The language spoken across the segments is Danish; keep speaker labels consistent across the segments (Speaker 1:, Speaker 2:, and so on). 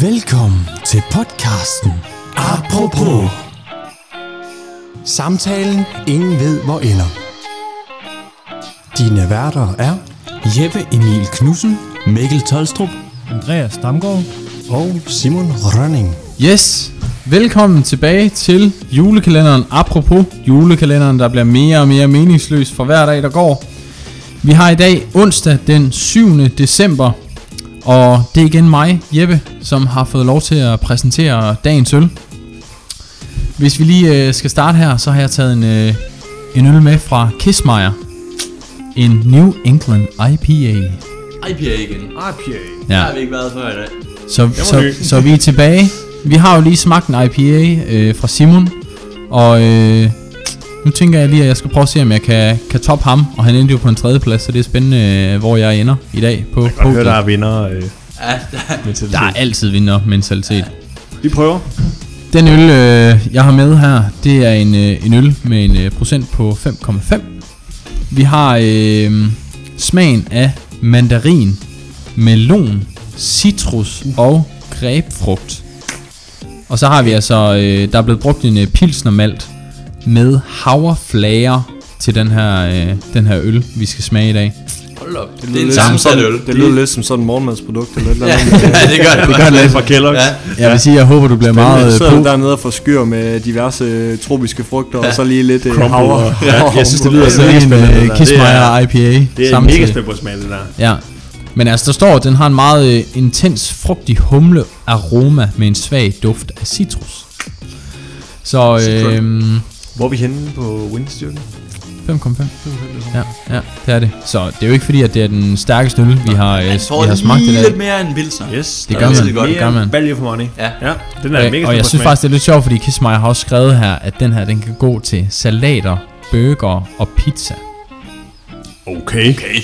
Speaker 1: Velkommen til podcasten Apropos. Samtalen, ingen ved hvor ender. Dine værter er Jeppe Emil Knudsen
Speaker 2: Mikkel Tolstrup.
Speaker 3: Andreas Damgaard.
Speaker 1: og Simon Rønning.
Speaker 3: Yes, velkommen tilbage til julekalenderen. Apropos julekalenderen, der bliver mere og mere meningsløs for hver dag, der går. Vi har i dag onsdag den 7. december, og det er igen mig, Jeppe, som har fået lov til at præsentere dagens øl. Hvis vi lige øh, skal starte her, så har jeg taget en, øh, en øl med fra Kismayer. En New England IPA.
Speaker 2: IPA igen.
Speaker 3: Ja.
Speaker 2: Der har vi ikke været før i dag.
Speaker 3: Så, så, så vi er tilbage. Vi har jo lige smagt en IPA øh, fra Simon, og øh, nu tænker jeg lige, at jeg skal prøve at se, om jeg kan, kan toppe ham, og han endte jo på en tredjeplads, så det er spændende, øh, hvor jeg ender i dag på
Speaker 4: Og høre, der
Speaker 3: podiet.
Speaker 4: er vinder øh,
Speaker 2: Ja, der,
Speaker 4: med
Speaker 3: Der er
Speaker 4: selvtillid.
Speaker 3: altid vinder mentalitet.
Speaker 4: Vi prøver.
Speaker 3: Den øl, øh, jeg har med her, det er en, øh, en øl med en øh, procent på 5,5. Vi har øh, smagen af mandarin, melon, citrus
Speaker 4: Uh.
Speaker 3: og grebfrugt. Og så har vi altså, øh, der er blevet brugt en øh, pilsnermalt med havreflager til den her, øh, den her øl, vi skal smage i dag.
Speaker 2: hold op. Det, er
Speaker 5: lyder
Speaker 2: en
Speaker 5: lidt som
Speaker 2: sammensat
Speaker 5: sådan-
Speaker 2: øl.
Speaker 5: Det lyder lidt som sådan en morgenmadsprodukt eller et eller
Speaker 2: Ja,
Speaker 5: andet.
Speaker 2: ja, det gør det.
Speaker 4: Det gør det lidt fra Kellogg's.
Speaker 2: Ja.
Speaker 4: Ja.
Speaker 3: Jeg vil sige, jeg håber, du bliver
Speaker 5: Men
Speaker 3: meget
Speaker 5: jeg
Speaker 3: øh,
Speaker 5: sidder
Speaker 3: på.
Speaker 5: dernede og får skyr med diverse øh, tropiske frugter, og så lige lidt øh,
Speaker 4: Crumble
Speaker 5: havre.
Speaker 4: og- Ja, jeg synes, det lyder
Speaker 3: Altså
Speaker 4: mega
Speaker 3: en
Speaker 4: spændende, det
Speaker 3: øh,
Speaker 4: der.
Speaker 3: Kismayer IPA
Speaker 4: Det er
Speaker 3: samtidig.
Speaker 4: mega spændt på at smage det der.
Speaker 3: Ja. Men altså, der står, at den har en meget øh, intens, frugtig humlearoma med en svag duft af citrus. Så øh,
Speaker 4: Hvor er vi henne på windstyrken?
Speaker 3: 5,5. Ja, ja, det er det. Så det er jo ikke fordi, at det er den stærkeste øl, vi har, øh,
Speaker 2: Han får
Speaker 3: vi har smagt
Speaker 2: lige
Speaker 3: det
Speaker 2: lidt
Speaker 3: af.
Speaker 2: mere end Pilsner.
Speaker 4: Yes.
Speaker 3: Det
Speaker 4: der
Speaker 3: gør
Speaker 4: er
Speaker 3: man,
Speaker 4: lidt
Speaker 3: det
Speaker 4: mere
Speaker 3: gør man.
Speaker 4: Value for money.
Speaker 2: Ja.
Speaker 4: ja den er mega
Speaker 3: Øh, og jeg synes faktisk, det er lidt sjovt, fordi Kismayer har også skrevet her, at den her, den kan gå til salater, burger og pizza.
Speaker 4: Okay.
Speaker 2: Okay.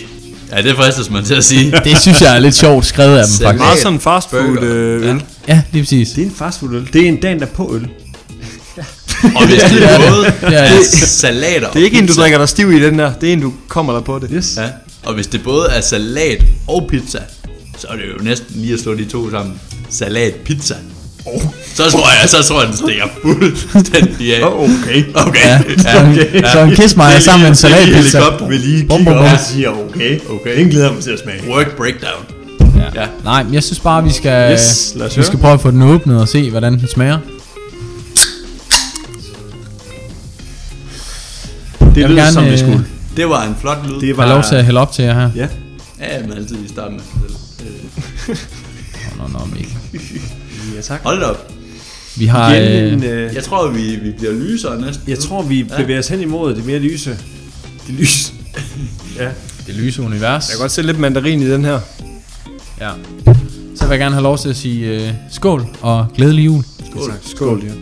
Speaker 2: Ja, det fristes man til at sige.
Speaker 3: Det synes jeg er lidt sjovt skrevet af dem,
Speaker 2: Salater.
Speaker 3: faktisk.
Speaker 5: Meget sådan fast food
Speaker 2: Burger.
Speaker 5: øh, øl.
Speaker 3: Ja, lige præcis.
Speaker 4: Det er en fastfood øl. Det er en dagen der på øl.
Speaker 2: Og hvis det er noget,
Speaker 3: Det er
Speaker 2: det er salater.
Speaker 5: Det er ikke en, du drikker dig stiv i den der. Det er en, du kommer der på det.
Speaker 4: Yes.
Speaker 2: Ja. Og hvis det både er salat og pizza, så er det jo næsten lige at slå de to sammen. Salat, pizza. Oh. Så tror jeg, så tror jeg, den stikker fuldstændig af.
Speaker 4: Åh, Okay.
Speaker 2: Okay. Ja.
Speaker 3: Så, så en Kismayer sammen med en salatpizza.
Speaker 2: Helikopter
Speaker 4: Vi lige
Speaker 3: Bum,
Speaker 4: kigger
Speaker 3: bum,
Speaker 4: op
Speaker 3: bum.
Speaker 4: og siger, okay, okay. Den glæder jeg mig til at smage.
Speaker 2: Work breakdown. Ja.
Speaker 3: Nej, men jeg synes bare, vi skal,
Speaker 4: Yes, lad os
Speaker 3: vi
Speaker 4: høre.
Speaker 3: skal prøve at få den åbnet og se, hvordan den smager.
Speaker 4: Det
Speaker 3: Jeg vil
Speaker 4: lyder
Speaker 3: gerne,
Speaker 4: som vi
Speaker 3: øh,
Speaker 4: skulle.
Speaker 2: Det var en flot lyd.
Speaker 4: Det
Speaker 3: Jeg har lov til at hælde op til jer her.
Speaker 4: Ja.
Speaker 2: Ja, men altid i starten.
Speaker 3: Nå, nå, nå, Mikkel.
Speaker 4: Ja, tak.
Speaker 2: Hold da op.
Speaker 3: Vi har...
Speaker 4: Igen en,
Speaker 3: Øh,
Speaker 4: øh,
Speaker 2: Jeg tror, vi, vi bliver lysere næsten.
Speaker 4: jeg tror, vi bevæger os hen imod det mere lyse.
Speaker 2: det lys.
Speaker 4: Ja.
Speaker 3: det lyse univers.
Speaker 5: Jeg kan godt se lidt mandarin i den her.
Speaker 3: Ja. Så vil jeg gerne have lov til at sige øh, skål og glædelig jul.
Speaker 2: Skål.
Speaker 5: Skål, ja.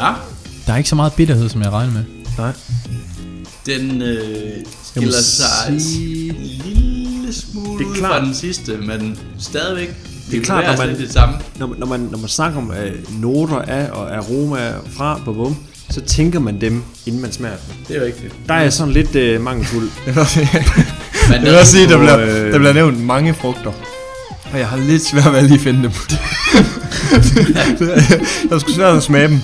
Speaker 2: Ja.
Speaker 3: Der er ikke så meget bitterhed, som jeg regner med.
Speaker 4: Nej.
Speaker 2: Den øh, skiller sig sige... en lille smule
Speaker 4: Det er
Speaker 2: ud
Speaker 4: klart.
Speaker 2: fra den sidste, men stadigvæk. Det er
Speaker 4: klart,
Speaker 2: klart,
Speaker 4: når
Speaker 2: man...
Speaker 4: man-
Speaker 2: det samme.
Speaker 4: når man, når man, når man snakker om øh, noter af og aromaer fra på bum, så tænker man dem, inden man smager dem.
Speaker 2: Det er rigtigt.
Speaker 4: Der er jeg sådan lidt øh, mangelfuld.
Speaker 2: Men
Speaker 5: Jeg vil også sige, der bliver,
Speaker 4: Øh.
Speaker 5: der bliver nævnt mange frugter. Og jeg har lidt svært ved at lige finde dem. Jeg skulle svært at smage dem.
Speaker 2: men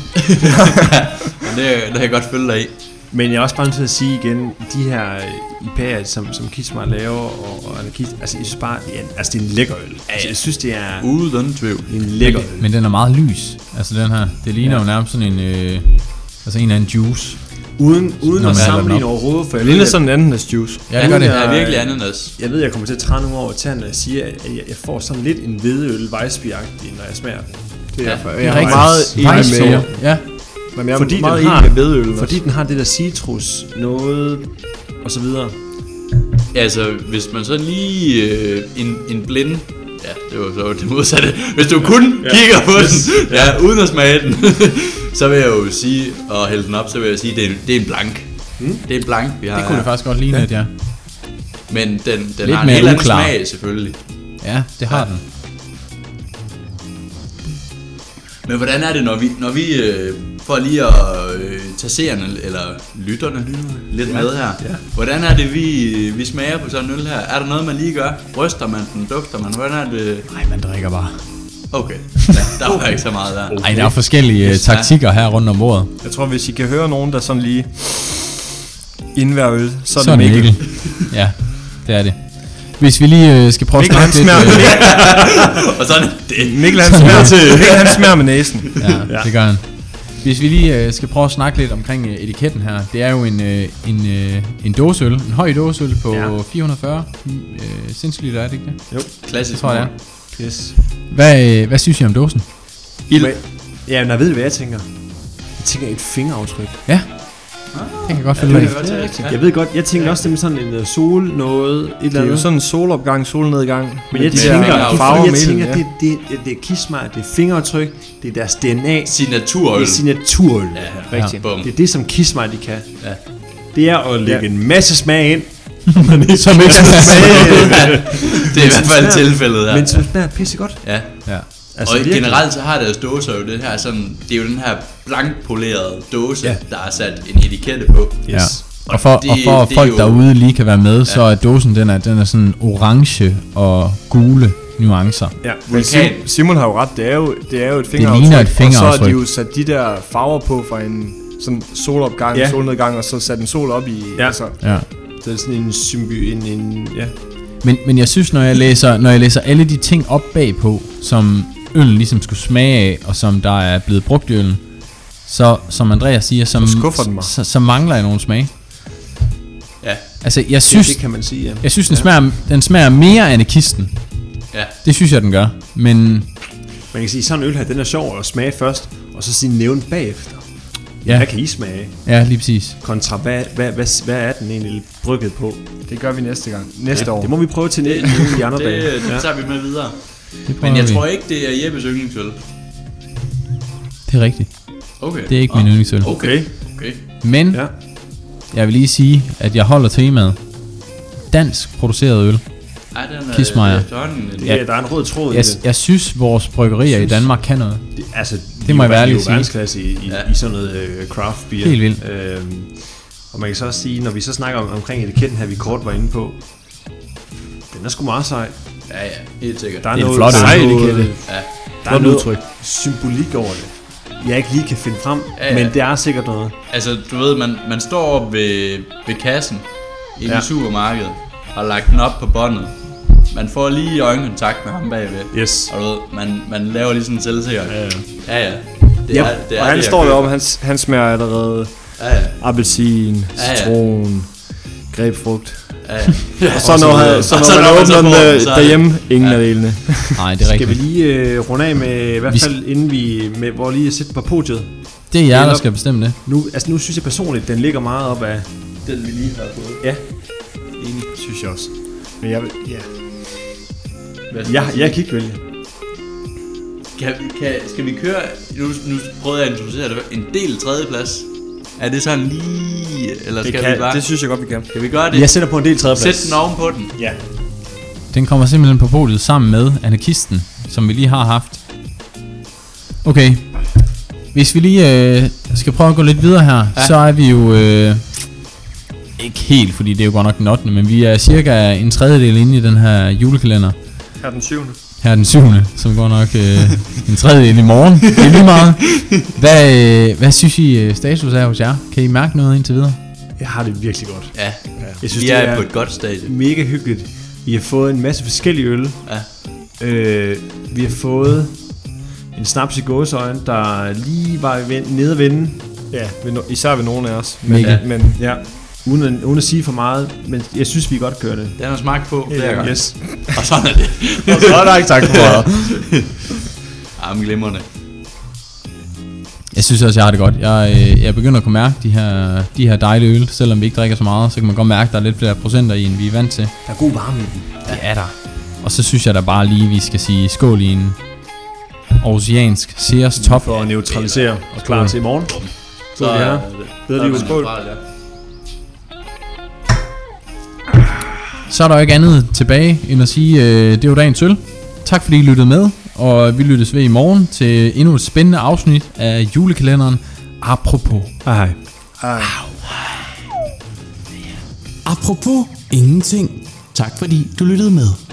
Speaker 2: det, det kan jeg godt følge dig i.
Speaker 4: Men jeg er også bare nødt til at sige igen, de her øh, IPA'er, som, som Kismar laver, og, og Anarkist, altså jeg synes bare, det er, altså, det er en lækker øl. Altså, jeg synes, det er
Speaker 5: Uh.
Speaker 2: Uden tvivl.
Speaker 4: en lækker øl.
Speaker 3: Men den er meget lys. Altså den her. Det ligner ja. jo nærmest sådan en... Øh, altså en eller anden juice.
Speaker 4: Uden, uden
Speaker 3: Når man
Speaker 4: at
Speaker 3: hælder den
Speaker 4: sammenligne
Speaker 3: op.
Speaker 4: overhovedet, for jeg,
Speaker 5: Det
Speaker 4: ved,
Speaker 5: er
Speaker 4: at-
Speaker 5: sådan en ananas juice.
Speaker 3: Ja, det gør det.
Speaker 2: Det er
Speaker 4: Øh,
Speaker 2: virkelig ananas.
Speaker 4: jeg ved, jeg kommer til at træne nogle over tanden, når jeg siger, at jeg, jeg får sådan lidt en hvedøl Weissbier-agtig, når jeg smager den.
Speaker 5: Det er
Speaker 2: Ja.
Speaker 5: jeg, jeg er
Speaker 3: Rigtig
Speaker 5: meget enig med jer.
Speaker 3: vejsår. Ja,
Speaker 5: Men jeg er
Speaker 4: Fordi den
Speaker 5: meget
Speaker 4: har-
Speaker 5: enig med vedøl. også.
Speaker 4: Fordi den har det der citrus, noget, og så videre.
Speaker 2: Altså, hvis man så lige øh, en, en blinde... Ja, det var så det modsatte. Hvis du kun ja. kigger på den, ja, uden at smage den, så vil jeg jo sige, og hælde den op, så vil jeg sige, det er, det er en blank. Hmm? Det er en blank, vi har
Speaker 3: det kunne det
Speaker 2: her.
Speaker 3: faktisk godt ligne, at ja.
Speaker 2: Men den, den
Speaker 3: Lidt
Speaker 2: har en
Speaker 3: mere
Speaker 2: helt anden
Speaker 3: uklar.
Speaker 2: smag, selvfølgelig.
Speaker 3: Ja, det har den.
Speaker 2: Men hvordan er det, når vi, når vi øh, for lige at øh, tage seerne, eller lytterne, lidt ja, med her. Ja. Hvordan er det, vi, vi smager på sådan en øl her? Er der noget, man lige gør? Ryster man den? Dufter man? Hvordan er det?
Speaker 3: Nej, man drikker bare.
Speaker 2: Okay, ja, der var ikke så meget der.
Speaker 3: Nej, der er forskellige yes, taktikker her rundt om bordet.
Speaker 6: Jeg tror, hvis I kan høre nogen, der sådan lige inden hver øl, så er
Speaker 3: Så er
Speaker 6: det
Speaker 3: det
Speaker 6: Mikkel.
Speaker 3: Mikkel. Ja, det er det. Hvis vi lige øh, skal prøve at
Speaker 6: Mikkel, han
Speaker 3: snakke
Speaker 6: smager,
Speaker 3: lidt... øh,
Speaker 6: Mikkel,
Speaker 2: Og sådan er det.
Speaker 6: Mikkel, han smager, Mikkel, han smager med næsen.
Speaker 3: Øh, ja, det gør han. Hvis vi lige øh, skal prøve at snakke lidt omkring øh, etiketten her. Det er jo en, øh, en, øh, en dåseøl, en høj dåseøl på ja.
Speaker 6: Ja.
Speaker 3: 440 øh, centiliter, er det ikke det?
Speaker 6: Jo.
Speaker 2: Klassisk.
Speaker 3: Tror jeg, det er.
Speaker 6: Yes.
Speaker 3: Hvad, øh, hvad synes I om dåsen?
Speaker 6: Ild. Ja, men ved du, hvad jeg tænker? Jeg tænker et fingeraftryk.
Speaker 3: Ja, det kan jeg godt finde ud
Speaker 2: Det
Speaker 3: af.
Speaker 2: kan godt tage rigtigt.
Speaker 4: Jeg ved godt, jeg tænker også, det med sådan en øh, sol noget, et
Speaker 6: Det
Speaker 4: eller
Speaker 6: er jo
Speaker 4: andet.
Speaker 6: sådan en solopgang, solnedgang.
Speaker 4: Men jeg
Speaker 6: de
Speaker 4: tænker,
Speaker 2: fingeraftryk.
Speaker 6: der
Speaker 4: det er
Speaker 6: farver
Speaker 4: fordi, jeg
Speaker 6: med
Speaker 4: tænker,
Speaker 6: ilden,
Speaker 4: det, det, det, det er kismar, det er fingeraftryk, det er deres DNA, det
Speaker 2: Signaturøl.
Speaker 4: er signaturøl. Ja,
Speaker 2: Rigtig. Bum.
Speaker 4: Det er det, som kismar, de kan.
Speaker 2: Ja.
Speaker 4: Det er at lægge en masse smag ind,
Speaker 3: Som ikke
Speaker 2: Det er i hvert fald tilfældet her.
Speaker 4: men som smager pissegodt.
Speaker 2: Ja.
Speaker 3: Ja.
Speaker 2: Altså, og virkelig. generelt så har deres dåser jo det her sådan, det er jo den her blankpolerede dåse, ja. der er sat en etikette på.
Speaker 3: Ja.
Speaker 2: Og
Speaker 3: Og for,
Speaker 2: det-
Speaker 3: og for at
Speaker 2: det er
Speaker 3: folk
Speaker 2: jo-
Speaker 3: derude lige kan være med, ja. så er dåsen den er, den er sådan orange og gule nuancer.
Speaker 6: Ja,
Speaker 5: Men
Speaker 2: Vulkan.
Speaker 5: Simon, Simon har jo ret, det er jo, det er jo et fingeraftryk.
Speaker 3: ligner et
Speaker 5: Og så
Speaker 3: fingeraftryk.
Speaker 5: har de jo sat de der farver på fra en sådan solopgang,
Speaker 6: Ja.
Speaker 5: ja. solnedgang, og så sat en sol op i...
Speaker 6: Ja.
Speaker 5: Altså,
Speaker 3: Ja.
Speaker 6: det er sådan en symbi... En, en, ja.
Speaker 3: Men, men jeg synes, når jeg, læser, når jeg læser alle de ting op bagpå, som øllen ligesom skulle smage af, og som der er blevet brugt i øllen, så som Andreas siger, som,
Speaker 5: Så skuffer den mig.
Speaker 3: Så, så mangler jeg nogle smage.
Speaker 2: Ja,
Speaker 3: Altså, jeg
Speaker 6: ja,
Speaker 3: synes,
Speaker 6: det kan man sige, ja.
Speaker 3: jeg synes den, smager, den smager mere anarkisten.
Speaker 2: ja.
Speaker 3: Det synes jeg, den gør. Men
Speaker 4: Man kan sige, sådan en øl her, den er sjov at smage først, og så sige nævn bagefter.
Speaker 3: Ja.
Speaker 4: Ja. Hvad kan I smage?
Speaker 3: ja, lige præcis.
Speaker 4: Kontra, hvad, hvad, hvad, hvad er den egentlig brygget på?
Speaker 5: det gør vi næste gang. Næste år.
Speaker 4: Det må vi prøve til næ- i de andre
Speaker 2: Det,
Speaker 4: dage.
Speaker 2: det tager vi med videre.
Speaker 3: Det prøver
Speaker 2: Men jeg
Speaker 3: vi.
Speaker 2: tror ikke, det er Jeppes yndlingsøl.
Speaker 3: Det er rigtigt.
Speaker 2: Okay.
Speaker 3: Det er ikke min
Speaker 2: Ah,
Speaker 3: yndlingsøl.
Speaker 2: Okay. okay.
Speaker 3: Men ja.
Speaker 4: Ja.
Speaker 3: jeg vil lige sige, at jeg holder temaet. Dansk produceret øl.
Speaker 2: Ej, den er
Speaker 3: Kismajer.
Speaker 2: det er efterhånden en-
Speaker 4: Ja. ja, der er en rød tråd
Speaker 3: Jeg,
Speaker 4: i det.
Speaker 3: jeg synes, vores bryggerier i Danmark kan noget.
Speaker 4: det. Altså,
Speaker 3: Det må jeg være
Speaker 4: ærlig
Speaker 3: ærlig at sige.
Speaker 4: sige. verdensklasse i, i,
Speaker 2: Ja.
Speaker 4: ja. i sådan noget øh, craft beer.
Speaker 3: Helt vildt.
Speaker 4: Øhm, og man kan så også sige, når vi så snakker om, omkring etiketten her, vi kort var inde på, den er sgu meget sej.
Speaker 2: Ja, ja. Helt sikkert.
Speaker 4: Der er,
Speaker 3: Det er en
Speaker 4: noget,
Speaker 3: flot
Speaker 4: der
Speaker 3: øl.
Speaker 4: er noget,
Speaker 2: Ja.
Speaker 4: der er noget udtryk. symbolik over det. Jeg ikke lige kan finde frem,
Speaker 2: Ja,
Speaker 4: ja,
Speaker 2: ja.
Speaker 4: ja. men det er sikkert noget.
Speaker 2: Altså, du ved, man, man står op ved, ved kassen i ja.
Speaker 4: Ja.
Speaker 2: supermarkedet og lagt den op på båndet. Man får lige øjenkontakt med ham bagved.
Speaker 4: Yes.
Speaker 2: Og du ved, man, man laver lige sådan en selvsikker. Ja, ja. ja, ja. Det
Speaker 4: Yep.
Speaker 2: er, det er
Speaker 5: og han
Speaker 2: det, jeg
Speaker 5: står
Speaker 2: køber.
Speaker 5: deroppe, han, han smager allerede
Speaker 2: Ja, ja.
Speaker 5: appelsin,
Speaker 2: ja.
Speaker 5: citron, grebfrugt.
Speaker 2: ja, ja.
Speaker 5: Og så når, han, så
Speaker 2: Og
Speaker 5: når
Speaker 2: så
Speaker 5: man
Speaker 2: når man så
Speaker 5: åbner den
Speaker 2: får den,
Speaker 5: øh,
Speaker 2: så er det-
Speaker 5: derhjemme, ingen af delene.
Speaker 3: Nej, det er
Speaker 4: Skal vi
Speaker 3: rigtigt.
Speaker 4: lige øh, runde af med, i hvert
Speaker 3: Vi skal-
Speaker 4: fald inden vi, med, hvor lige at sætte på podiet.
Speaker 3: Det er jer, der
Speaker 4: Eller-
Speaker 3: skal bestemme det.
Speaker 4: Nu, altså nu synes jeg personligt, den ligger meget op af...
Speaker 2: Den vi lige har fået.
Speaker 4: Ja,
Speaker 5: Synes jeg også. Men jeg, vil- ja.
Speaker 2: Hvad skal
Speaker 4: jeg,
Speaker 2: man sige?
Speaker 4: jeg kan ikke vælge.
Speaker 2: Kan, vi- kan, skal vi køre, nu, nu prøvede jeg at introducere det, en del tredjeplads? Er det sådan lige, eller
Speaker 6: Det,
Speaker 2: skal
Speaker 6: kan,
Speaker 2: vi bare,
Speaker 6: det synes jeg godt, vi kan.
Speaker 2: kan vi gøre det?
Speaker 4: Jeg sætter på en del tredjeplads.
Speaker 2: Sæt den oven på den.
Speaker 4: Ja.
Speaker 3: Den kommer simpelthen på podiet sammen med anarkisten, som vi lige har haft. Okay. Hvis vi lige øh, skal prøve at gå lidt videre her, ja. så er vi jo... Øh, ikke helt, fordi det er jo godt nok den 8. Men vi er cirka en tredjedel inde i den her julekalender.
Speaker 6: Her er den syvende.
Speaker 3: Her er den 7. som går nok øh, en tredjedel i morgen. Det er lige meget. Hvad, øh, hvad synes I øh, status er hos jer? Kan I mærke noget indtil videre?
Speaker 4: Jeg har det virkelig godt.
Speaker 2: Ja,
Speaker 4: Jeg
Speaker 2: vi
Speaker 4: det
Speaker 2: er på et godt stadie.
Speaker 4: mega hyggeligt. Vi har fået en masse forskellige øl.
Speaker 2: Ja.
Speaker 4: Øh, vi har fået en snaps i gåseøjne, der lige var i ven- nede at vende.
Speaker 5: Ja, ved no- især ved nogen af os. Men, øh,
Speaker 3: Mikkel.
Speaker 5: men
Speaker 4: Ja. Uden at, uden at sige for meget, men jeg synes, vi godt kører det.
Speaker 2: Den har smagt på flere gange.
Speaker 4: Yes.
Speaker 2: Og sådan er det.
Speaker 5: så er der ikke tak for meget.
Speaker 2: Jamen glimrende.
Speaker 3: Jeg synes også, jeg har det godt. Jeg, øh, jeg begynder at kunne mærke de her, de her dejlige øl. Selvom vi ikke drikker så meget, så kan man godt mærke, at der er lidt flere procenter i, end vi er vant til.
Speaker 4: Der er god varme i den.
Speaker 3: Det er der. Og så synes jeg da bare lige, vi skal sige skål i en aarhusiansk Sears Top.
Speaker 4: For at neutralisere og klar til i morgen.
Speaker 2: Så
Speaker 4: det her.
Speaker 2: det.
Speaker 4: Bedre liv.
Speaker 2: Skål. Ja.
Speaker 3: Så er der jo ikke andet tilbage, end at sige, øh, det var dagens øl. Tak fordi I lyttede med, og vi lyttes ved i morgen til endnu et spændende afsnit af julekalenderen. Apropos.
Speaker 4: Hej hej.
Speaker 1: Apropos ingenting. Tak fordi du lyttede med.